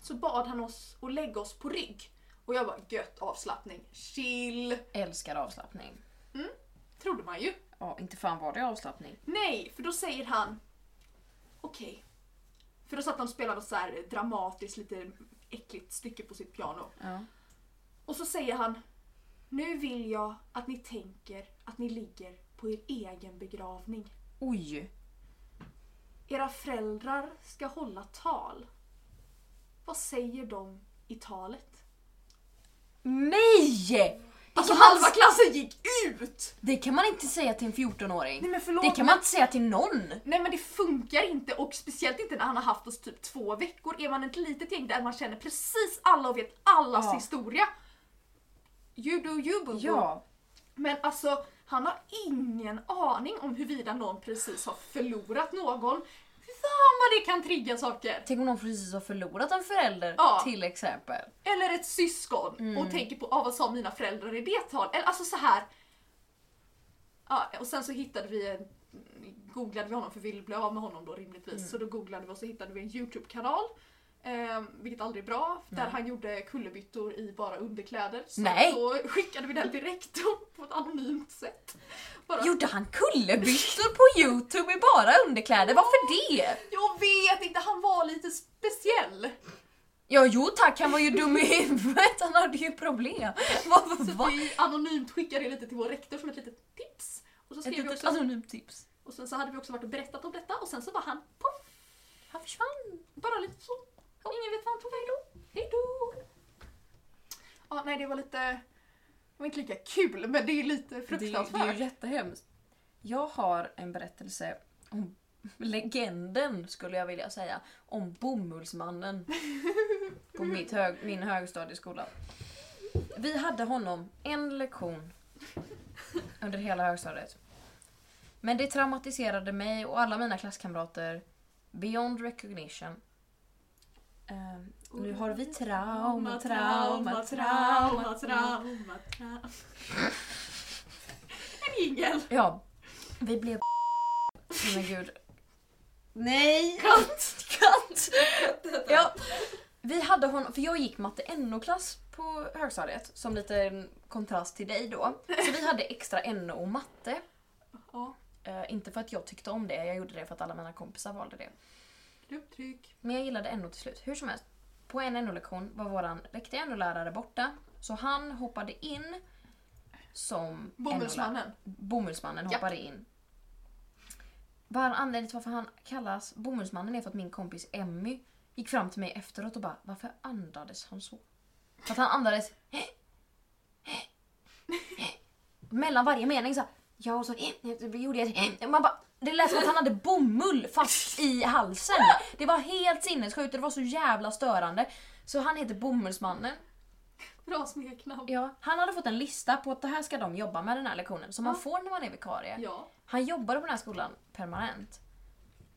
S2: så bad han oss att lägga oss på rygg. Och jag bara gött avslappning, chill,
S1: Älskar avslappning.
S2: trodde man ju.
S1: Ja, inte fan var det avslappning.
S2: Nej, för då säger han okej. För då satt han och spelade så här dramatiskt, lite äckligt stycke på sitt piano.
S1: Ja.
S2: Och så säger han nu vill jag att ni tänker att ni ligger på er egen begravning.
S1: Oj.
S2: Era föräldrar ska hålla tal. Vad säger de i talet?
S1: Nej!
S2: Alltså halva klassen gick ut!
S1: Det kan man inte säga till en 14-åring.
S2: Nej men förlåt.
S1: Det kan man inte säga till någon.
S2: Nej men det funkar inte och speciellt inte när han har haft oss typ två veckor. Är man ett litet gäng där man känner precis alla och vet allas
S1: Ja.
S2: historia. You do you boo
S1: Ja.
S2: Men alltså han har ingen aning om huruvida någon precis har förlorat någon. Fy fan vad det kan trigga saker!
S1: Tänk om någon precis har förlorat en förälder
S2: Ja.
S1: till exempel.
S2: Eller ett syskon
S1: Mm.
S2: och tänker på ah, vad sa mina föräldrar i det tal? Eller alltså så här. Ja, och sen så hittade vi en googlade vi honom för vi ville bli av med honom då rimligtvis.
S1: Mm.
S2: Så då googlade vi och så hittade vi en Youtube-kanal. Eh, vilket aldrig är bra. Där han gjorde kullerbyttor i bara underkläder. Så
S1: Nej.
S2: då skickade vi den direkt på ett anonymt sätt. Bara,
S1: Gjorde han kullerbyxor på youtube i bara underkläder? Varför det?
S2: Jag vet inte, han var lite speciell.
S1: Ja, jo tack, han var ju dum i huvudet. Han hade ju problem. Vad-
S2: Så
S1: vad-
S2: vi anonymt skickade det lite till vår rektor som ett litet tips. Och så,
S1: Ett
S2: skrev vi
S1: litet alltså-
S2: också,
S1: anonymt tips.
S2: och sen så hade vi också varit och berättat om detta och sen så var han poff! Han försvann. Bara lite så. Och ingen vet vart han tog vägen. Hejdå! Ja, nej det var lite... Det var inte lika kul men det är lite
S1: Det, det
S2: fruktansvärt.
S1: är ju jättehemskt. Jag har en berättelse om legenden, skulle jag vilja säga, om bomullsmannen på mitt hög, min högstadieskola. Vi hade honom en lektion under hela högstadiet. Men det traumatiserade mig och alla mina klasskamrater beyond recognition. Ehm, nu har vi trauma, trauma, trauma, trauma.
S2: trauma, trauma. En jingel!
S1: Ja. Vi blev... Oh, men gud. Nej!
S2: Kant!
S1: Kant! Ja. Vi hade honom, för jag gick matte NO-klass på högstadiet som lite kontrast till dig då. Så vi hade extra NO och matte.
S2: Ja,
S1: Eh, inte för att jag tyckte om det, jag gjorde det för att alla mina kompisar valde det.
S2: grupptryck.
S1: Men jag gillade NO till slut. Hur som helst, på en NO-lektion var våran riktiga NO-lärare borta. Så han hoppade in som NO-lärare.
S2: Bomullsmannen.
S1: Bomullsmannen
S2: Japp.
S1: hoppade in. Bara anledningen till varför han kallas Bomullsmannen är för att min kompis Emmy gick fram till mig efteråt och bara varför andades han så? För att han andades mellan varje mening så här, ja och så det gjorde jag ett man bara det lät som att han hade bomull fast i halsen. Det var helt sinnessjukt och det var så jävla störande. Så han heter Bomullsmannen.
S2: Bra smeknamn.
S1: Ja, han hade fått en lista på att det här ska de jobba med den här lektionen som man får när man är vikarie.
S2: Ja.
S1: Han jobbade på den här skolan permanent.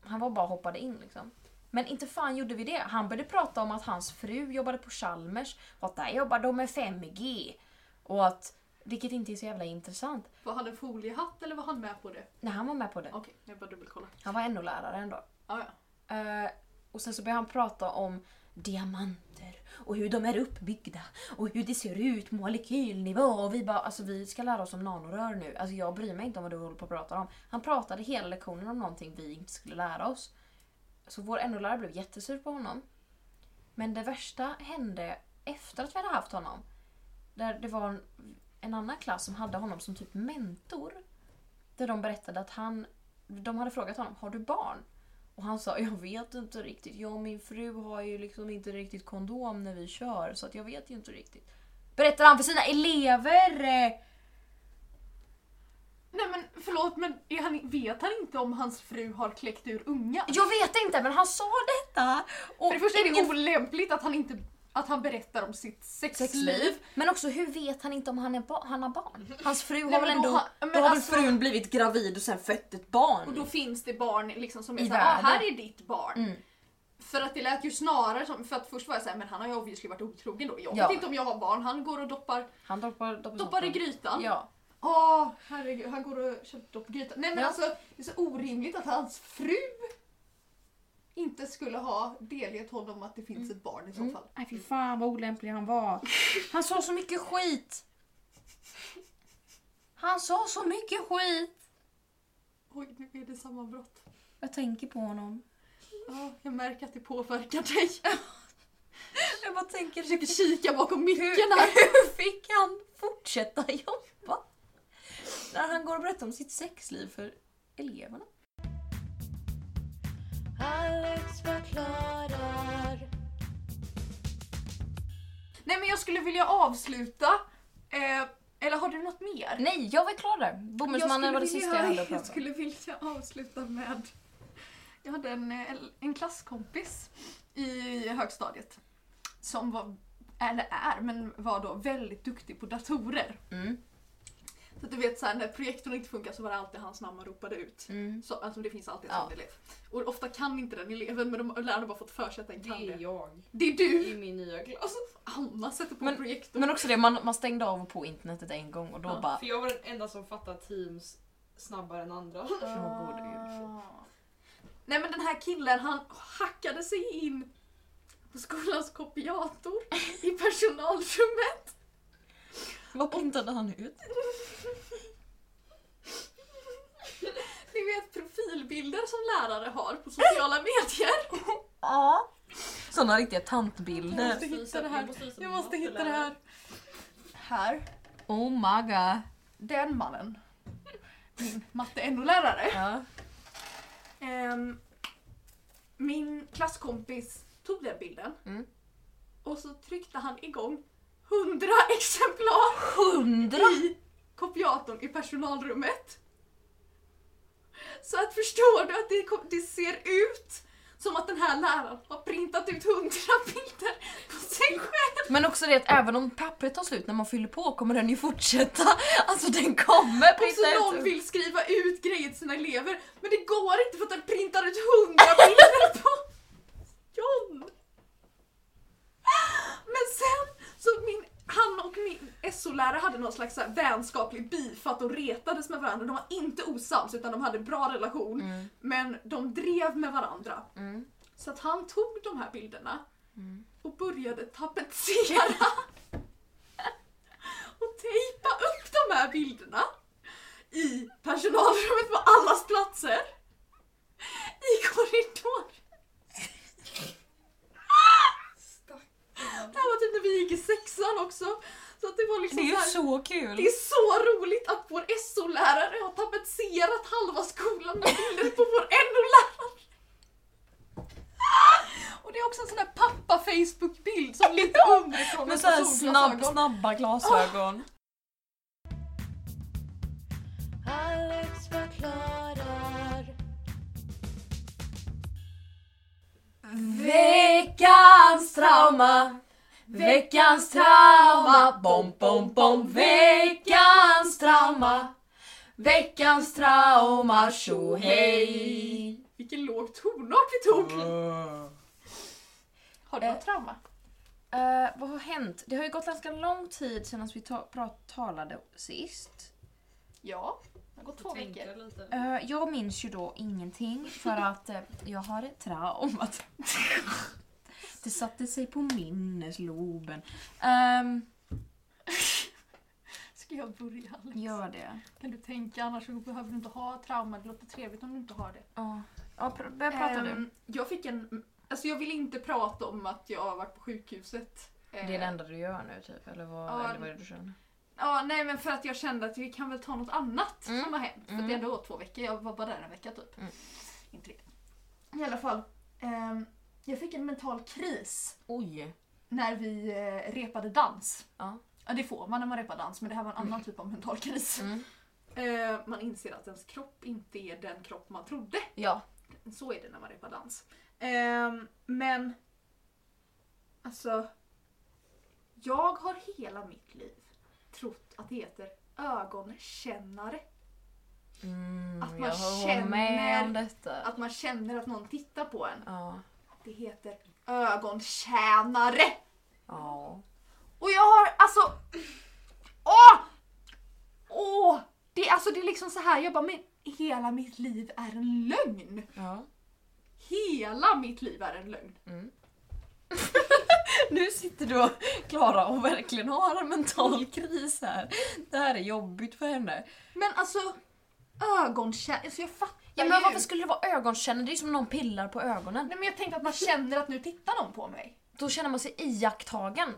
S1: Han var bara hoppade in liksom. Men inte fan gjorde vi det. Han började prata om att hans fru jobbade på Chalmers och att där jobbar de med 5G. Och att, vilket inte är så jävla intressant.
S2: Var han en foliehatt eller var han med på det?
S1: När han var med på det.
S2: Okej, jag bara dubbelkolla.
S1: Han var NO-lärare ändå.
S2: Ah, ja.
S1: Eh, och sen så började han prata om diamanter och hur de är uppbyggda och hur det ser ut på molekylnivå. Och vi bara, alltså vi ska lära oss om nanorör nu. Alltså jag bryr mig inte om vad du håller på att prata om. Han pratade hela lektionen om någonting vi inte skulle lära oss. Så vår NO-lärare blev jättesur på honom. Men det värsta hände efter att vi hade haft honom. Där det var en, en annan klass som hade honom som typ mentor. Där de berättade att han, de hade frågat honom, har du barn? Och han sa, jag vet inte riktigt. Jag och min fru har ju liksom inte riktigt kondom när vi kör så att jag vet ju inte riktigt. Berättar han för sina elever! eh,
S2: Nej men förlåt men är han, vet han inte om hans fru har kläckt ur unga?
S1: Jag vet inte men han sa detta! Och
S2: För det första är det
S1: ingen-
S2: olämpligt att han, inte, att han berättar om sitt sexliv.
S1: sexliv. Men också hur vet han inte om han, är ba- han har barn? Hans fru har
S2: Nej,
S1: väl
S2: men då
S1: ändå...
S2: har- men
S1: då har
S2: alltså-
S1: väl frun blivit gravid och sen fött ett barn?
S2: Och då finns det barn liksom som är
S1: I
S2: såhär, ah,
S1: världen.
S2: här är ditt barn.
S1: Mm.
S2: För att det lät ju snarare som, för att först var jag såhär, men han har ju obviously varit otrogen då. Jag
S1: Ja.
S2: vet inte om jag har barn, han går och doppar,
S1: Han doppar, doppar,
S2: doppar i grytan.
S1: Ja.
S2: Åh, herregud. Han går och köper dopp grytan. Nej men
S1: Ja.
S2: alltså, det är så orimligt att hans fru inte skulle ha delgett honom att det finns
S1: Mm.
S2: ett barn i så fall.
S1: Nej fy fan vad olämplig han var. Han sa så mycket skit! Han sa så mycket skit!
S2: Oj, nu är det sammanbrott.
S1: Jag tänker på honom.
S2: Ja, jag märker att det påverkar dig.
S1: Jag bara tänker,
S2: Jag försöker kika bakom micken här.
S1: hur fick han fortsätta jobba? När han går och berättar om sitt sexliv för eleverna.
S3: Alex förklarar.
S2: Nej men jag skulle vilja avsluta. Eh, eller har du något mer?
S1: Nej, jag var klar där. Bomullsmannen var det
S2: Jag skulle
S1: sista jag hade
S2: vilja,
S1: att
S2: jag
S1: prata om.
S2: skulle vilja avsluta med... Jag hade en, eh, en klasskompis i högstadiet som var, eller är, men var då väldigt duktig på datorer.
S1: Mm,
S2: Så att du vet såhär när projektorn inte funkar så var det alltid hans namn man ropade ut.
S1: mm.
S2: Så, alltså det finns alltid en
S1: Ja.
S2: sån elev. Och ofta kan inte den eleven men de lärarna har bara fått för sig att den
S5: Det
S2: kan
S5: är
S2: det.
S5: jag
S2: Det är du!
S5: i min nya klass.
S2: Anna sätter på
S1: Men-
S2: projektorn.
S1: Men också det, man, man stängde av och på internetet en gång och då
S2: Ja,
S1: bara...
S5: För jag var den enda som fattade Teams snabbare än andra.
S1: Åh, gode
S2: Ah. Nej men den här killen han hackade sig in på skolans kopiator i personalrummet.
S1: Vad pintade han ut?
S2: Ni vet profilbilder som lärare har på sociala medier.
S1: Ja. Såna riktiga tantbilder.
S2: måste hitta det här.
S5: Jag måste visa
S2: Jag
S5: min
S2: måste hitta det
S5: matlärare.
S2: här. Här.
S1: Oh my god.
S2: Den mannen. Min matte NO-lärare.
S1: Ja.
S2: Ehm, min klasskompis tog den bilden.
S1: Mm.
S2: Och så tryckte han igång 100 exemplar
S1: Hundra!
S2: i kopiatorn i personalrummet. Så att förstår du att det, kom- det ser ut som att den här läraren har printat ut 100 bilder på sig själv.
S1: Men också det att även om pappret tar slut när man fyller på kommer den ju fortsätta. Alltså den kommer
S2: Och så någon
S1: ut.
S2: vill skriva ut grejer till sina elever men det går inte för att den printar ut 100 bilder på John! Men sen så min, han och min SO-lärare hade någon slags så här vänskaplig beef att de retades med varandra. De var inte osams utan de hade en bra relation
S1: Mm.
S2: men de drev med varandra.
S1: Mm.
S2: Så att han tog de här bilderna och började tapetsera och tejpa upp de här bilderna i personalrummet på allas platser. I korridoren. Det här var typ när vi gick i sexan också. Så att det var liksom
S1: Det är ju
S2: så här-
S1: så
S2: det
S1: kul.
S2: är så roligt att vår SO-lärare har tapetserat halva skolan med bilder på vår NO-lärare! Och det är också en sån där pappa-Facebook-bild som lite underifrån
S1: Med
S2: med
S1: så här
S2: solglasögon.
S1: snabb, snabba glasögon.
S3: Alex förklarar.
S1: Veckans trauma. Veckans trauma. Bom, bom, bom. Veckans trauma. Veckans trauma. Tjo hej.
S2: Vilken låg tonart vi tog!
S4: Åh.
S2: Eh, Har du något trauma?
S1: Eh, vad har hänt? Det har ju gått ganska lång tid sedan vi ta- prat- talade sist.
S2: Ja, det har gått två
S5: Tänka
S2: veckor.
S5: lite.
S1: Eh, jag minns ju då ingenting för att eh, jag har ett traumat. Det satte sig på minnesloben. Ehm,
S2: Ska jag börja Alex?
S1: gör det.
S2: Kan du tänka annars så behöver du inte ha trauma, det låter trevligt om du inte har det.
S1: Ja, Ja, pr- börja prata du.
S2: Ehm, Jag fick en... Alltså jag vill inte prata om att jag har varit på sjukhuset.
S1: Det är
S2: Ehm,
S1: det enda du gör nu typ? Eller vad,
S2: ja,
S1: eller vad är det du känner?
S2: Ja, nej men för att jag kände att vi kan väl ta något annat
S1: Mm.
S2: som har hänt. För
S1: Mm.
S2: det är ändå två veckor, jag var bara där en vecka typ.
S1: Mm.
S2: Inte det. I alla fall. ehm, jag fick en mental kris
S1: Oj.
S2: när vi eh, repade dans.
S1: Ja.
S2: ja, det får man när man repar dans men det här var en annan typ av mental kris.
S1: Mm.
S2: Eh, man inser att ens kropp inte är den kropp man trodde.
S1: Ja.
S2: Så är det när man repar dans. Ehm, men alltså, jag har hela mitt liv trott att det heter ögonkännare.
S1: Mm,
S2: Att man
S1: jag håller med
S2: känner
S1: om detta.
S2: Att man känner att någon tittar på en.
S1: Ja.
S2: Det heter ögontjänare.
S1: Ja.
S2: Och jag har alltså... Åh! Åh! Det, är- alltså, det är liksom så här, jag bara men hela mitt liv är en lögn.
S1: ja.
S2: Hela mitt liv är en lögn.
S1: Nu sitter då Klara och verkligen har en mental kris här. Det här är jobbigt för henne.
S2: Men alltså ögonkänna, alltså jag fattar
S1: Ja, men
S2: ju.
S1: varför skulle det vara ögonkännare? Det är ju som om någon pillar på ögonen.
S2: Nej men jag tänkte att man känner att nu tittar någon på mig.
S1: Då känner man sig iakttagen.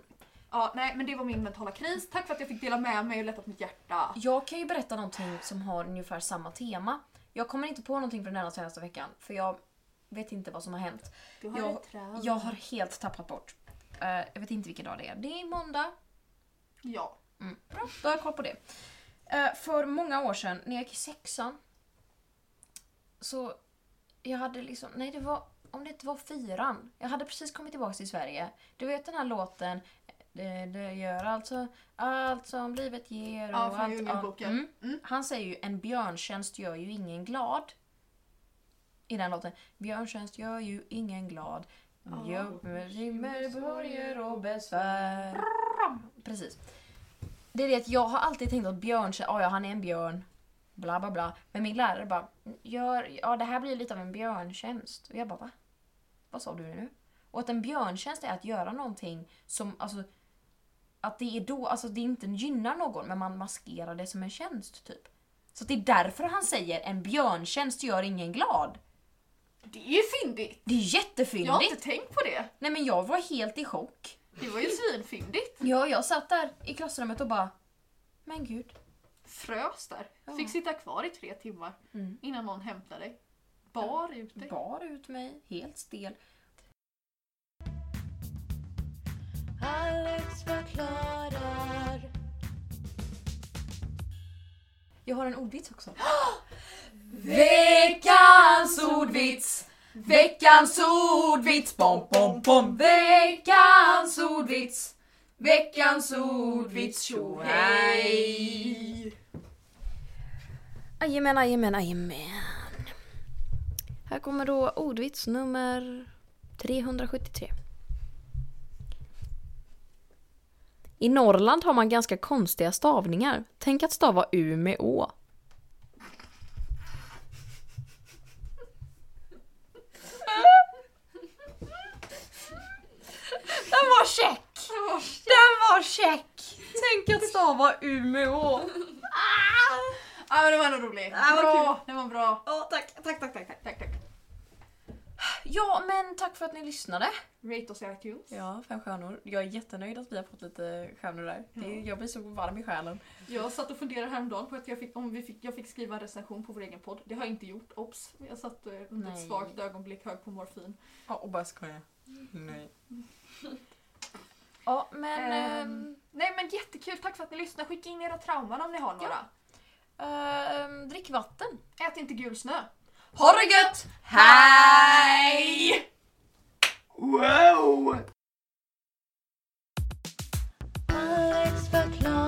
S2: Ja, nej men det var min mentala kris. Tack för att jag fick dela med mig och lättat mitt hjärta.
S1: Jag kan ju berätta någonting som har ungefär samma tema. Jag kommer inte på någonting från denna senaste veckan för jag vet inte vad som har hänt.
S2: Du har
S1: Jag-
S2: ett trauma.
S1: Jag har helt tappat bort. Eh, jag vet inte vilken dag det är. Det är måndag.
S2: Ja.
S1: Bra, då har jag koll på det. Eh, för många år sedan, när jag gick i sexan, så jag hade liksom, nej det var, om det inte var fyran, jag hade precis kommit tillbaka till Sverige. Du vet den här låten, det, det gör alltså allt som livet ger
S2: Ja, från
S1: allt-
S2: Djungelboken. Mm.
S1: Han säger ju en björntjänst gör ju ingen glad. I den låten. Björntjänst gör ju ingen glad. Jobb med rimmer, borger och besvär. Precis. Det är det att jag har alltid tänkt att björn, "Ah, ja ja han är en björn. Bla bla bla. Men min lärare bara, gör, ja det här blir lite av en björntjänst. Och jag bara va? Vad sa du nu? Och att en björntjänst är att göra någonting som, alltså att det är då, alltså det inte gynnar någon men man maskerar det som en tjänst typ. Så att det är därför han säger en björntjänst gör ingen glad.
S2: Det är ju fyndigt.
S1: Det är
S2: Jag har
S1: jättefyndigt!
S2: inte tänkt på det.
S1: Nej men jag var helt i chock.
S2: Det var ju svinfyndigt.
S1: Ja, jag satt där i klassrummet och bara, men gud.
S2: Frös där. Fick sitta kvar i tre timmar
S1: Mm.
S2: innan någon hämtade dig. Bar ut dig.
S1: Bar ut mig, helt stel.
S3: Alex förklarar.
S1: Jag har en ordvits också.
S4: Veckans ordvits! Veckans ordvits! Bom, bom, bom! Veckans ordvits! Veckans ordvits! Tjo hej!
S1: Jajamän, jajamän, jajamän. Här kommer då ordvits nummer 373. I Norrland har man ganska konstiga stavningar. Tänk att stava U med Å. Den var check! Den var check! Tänk att stava U med Å.
S2: Ja Ah, men det var ändå roligt.
S1: Ja, Ah, vad
S2: bra, det var bra.
S1: Ja, tack, tack, tack, tack.
S2: Tack tack.
S1: Ja, men tack för att ni lyssnade.
S2: Rate oss i iTunes.
S1: Ja, fem stjärnor. Jag är jättenöjd att vi har fått lite stjärnor där. Det, jag blir så varm i själen.
S2: Jag satt och funderade häromdagen på att jag fick, om vi fick, jag fick skriva en recension på vår egen podd. Det har jag inte gjort, obs. Jag satt eh, under ett
S1: Nej.
S2: svagt ögonblick hög på morfin.
S4: Ja, och bara skoja. Nej.
S1: Ja, men...
S2: Ehm, Nej men jättekul, tack för att ni lyssnar. Skicka in era trauman om ni har några.
S1: ehm, ehm, drick vatten.
S2: Ät inte gul snö.
S4: Ha det gött!
S2: Hej!
S4: Wow!
S3: Alex förklarar.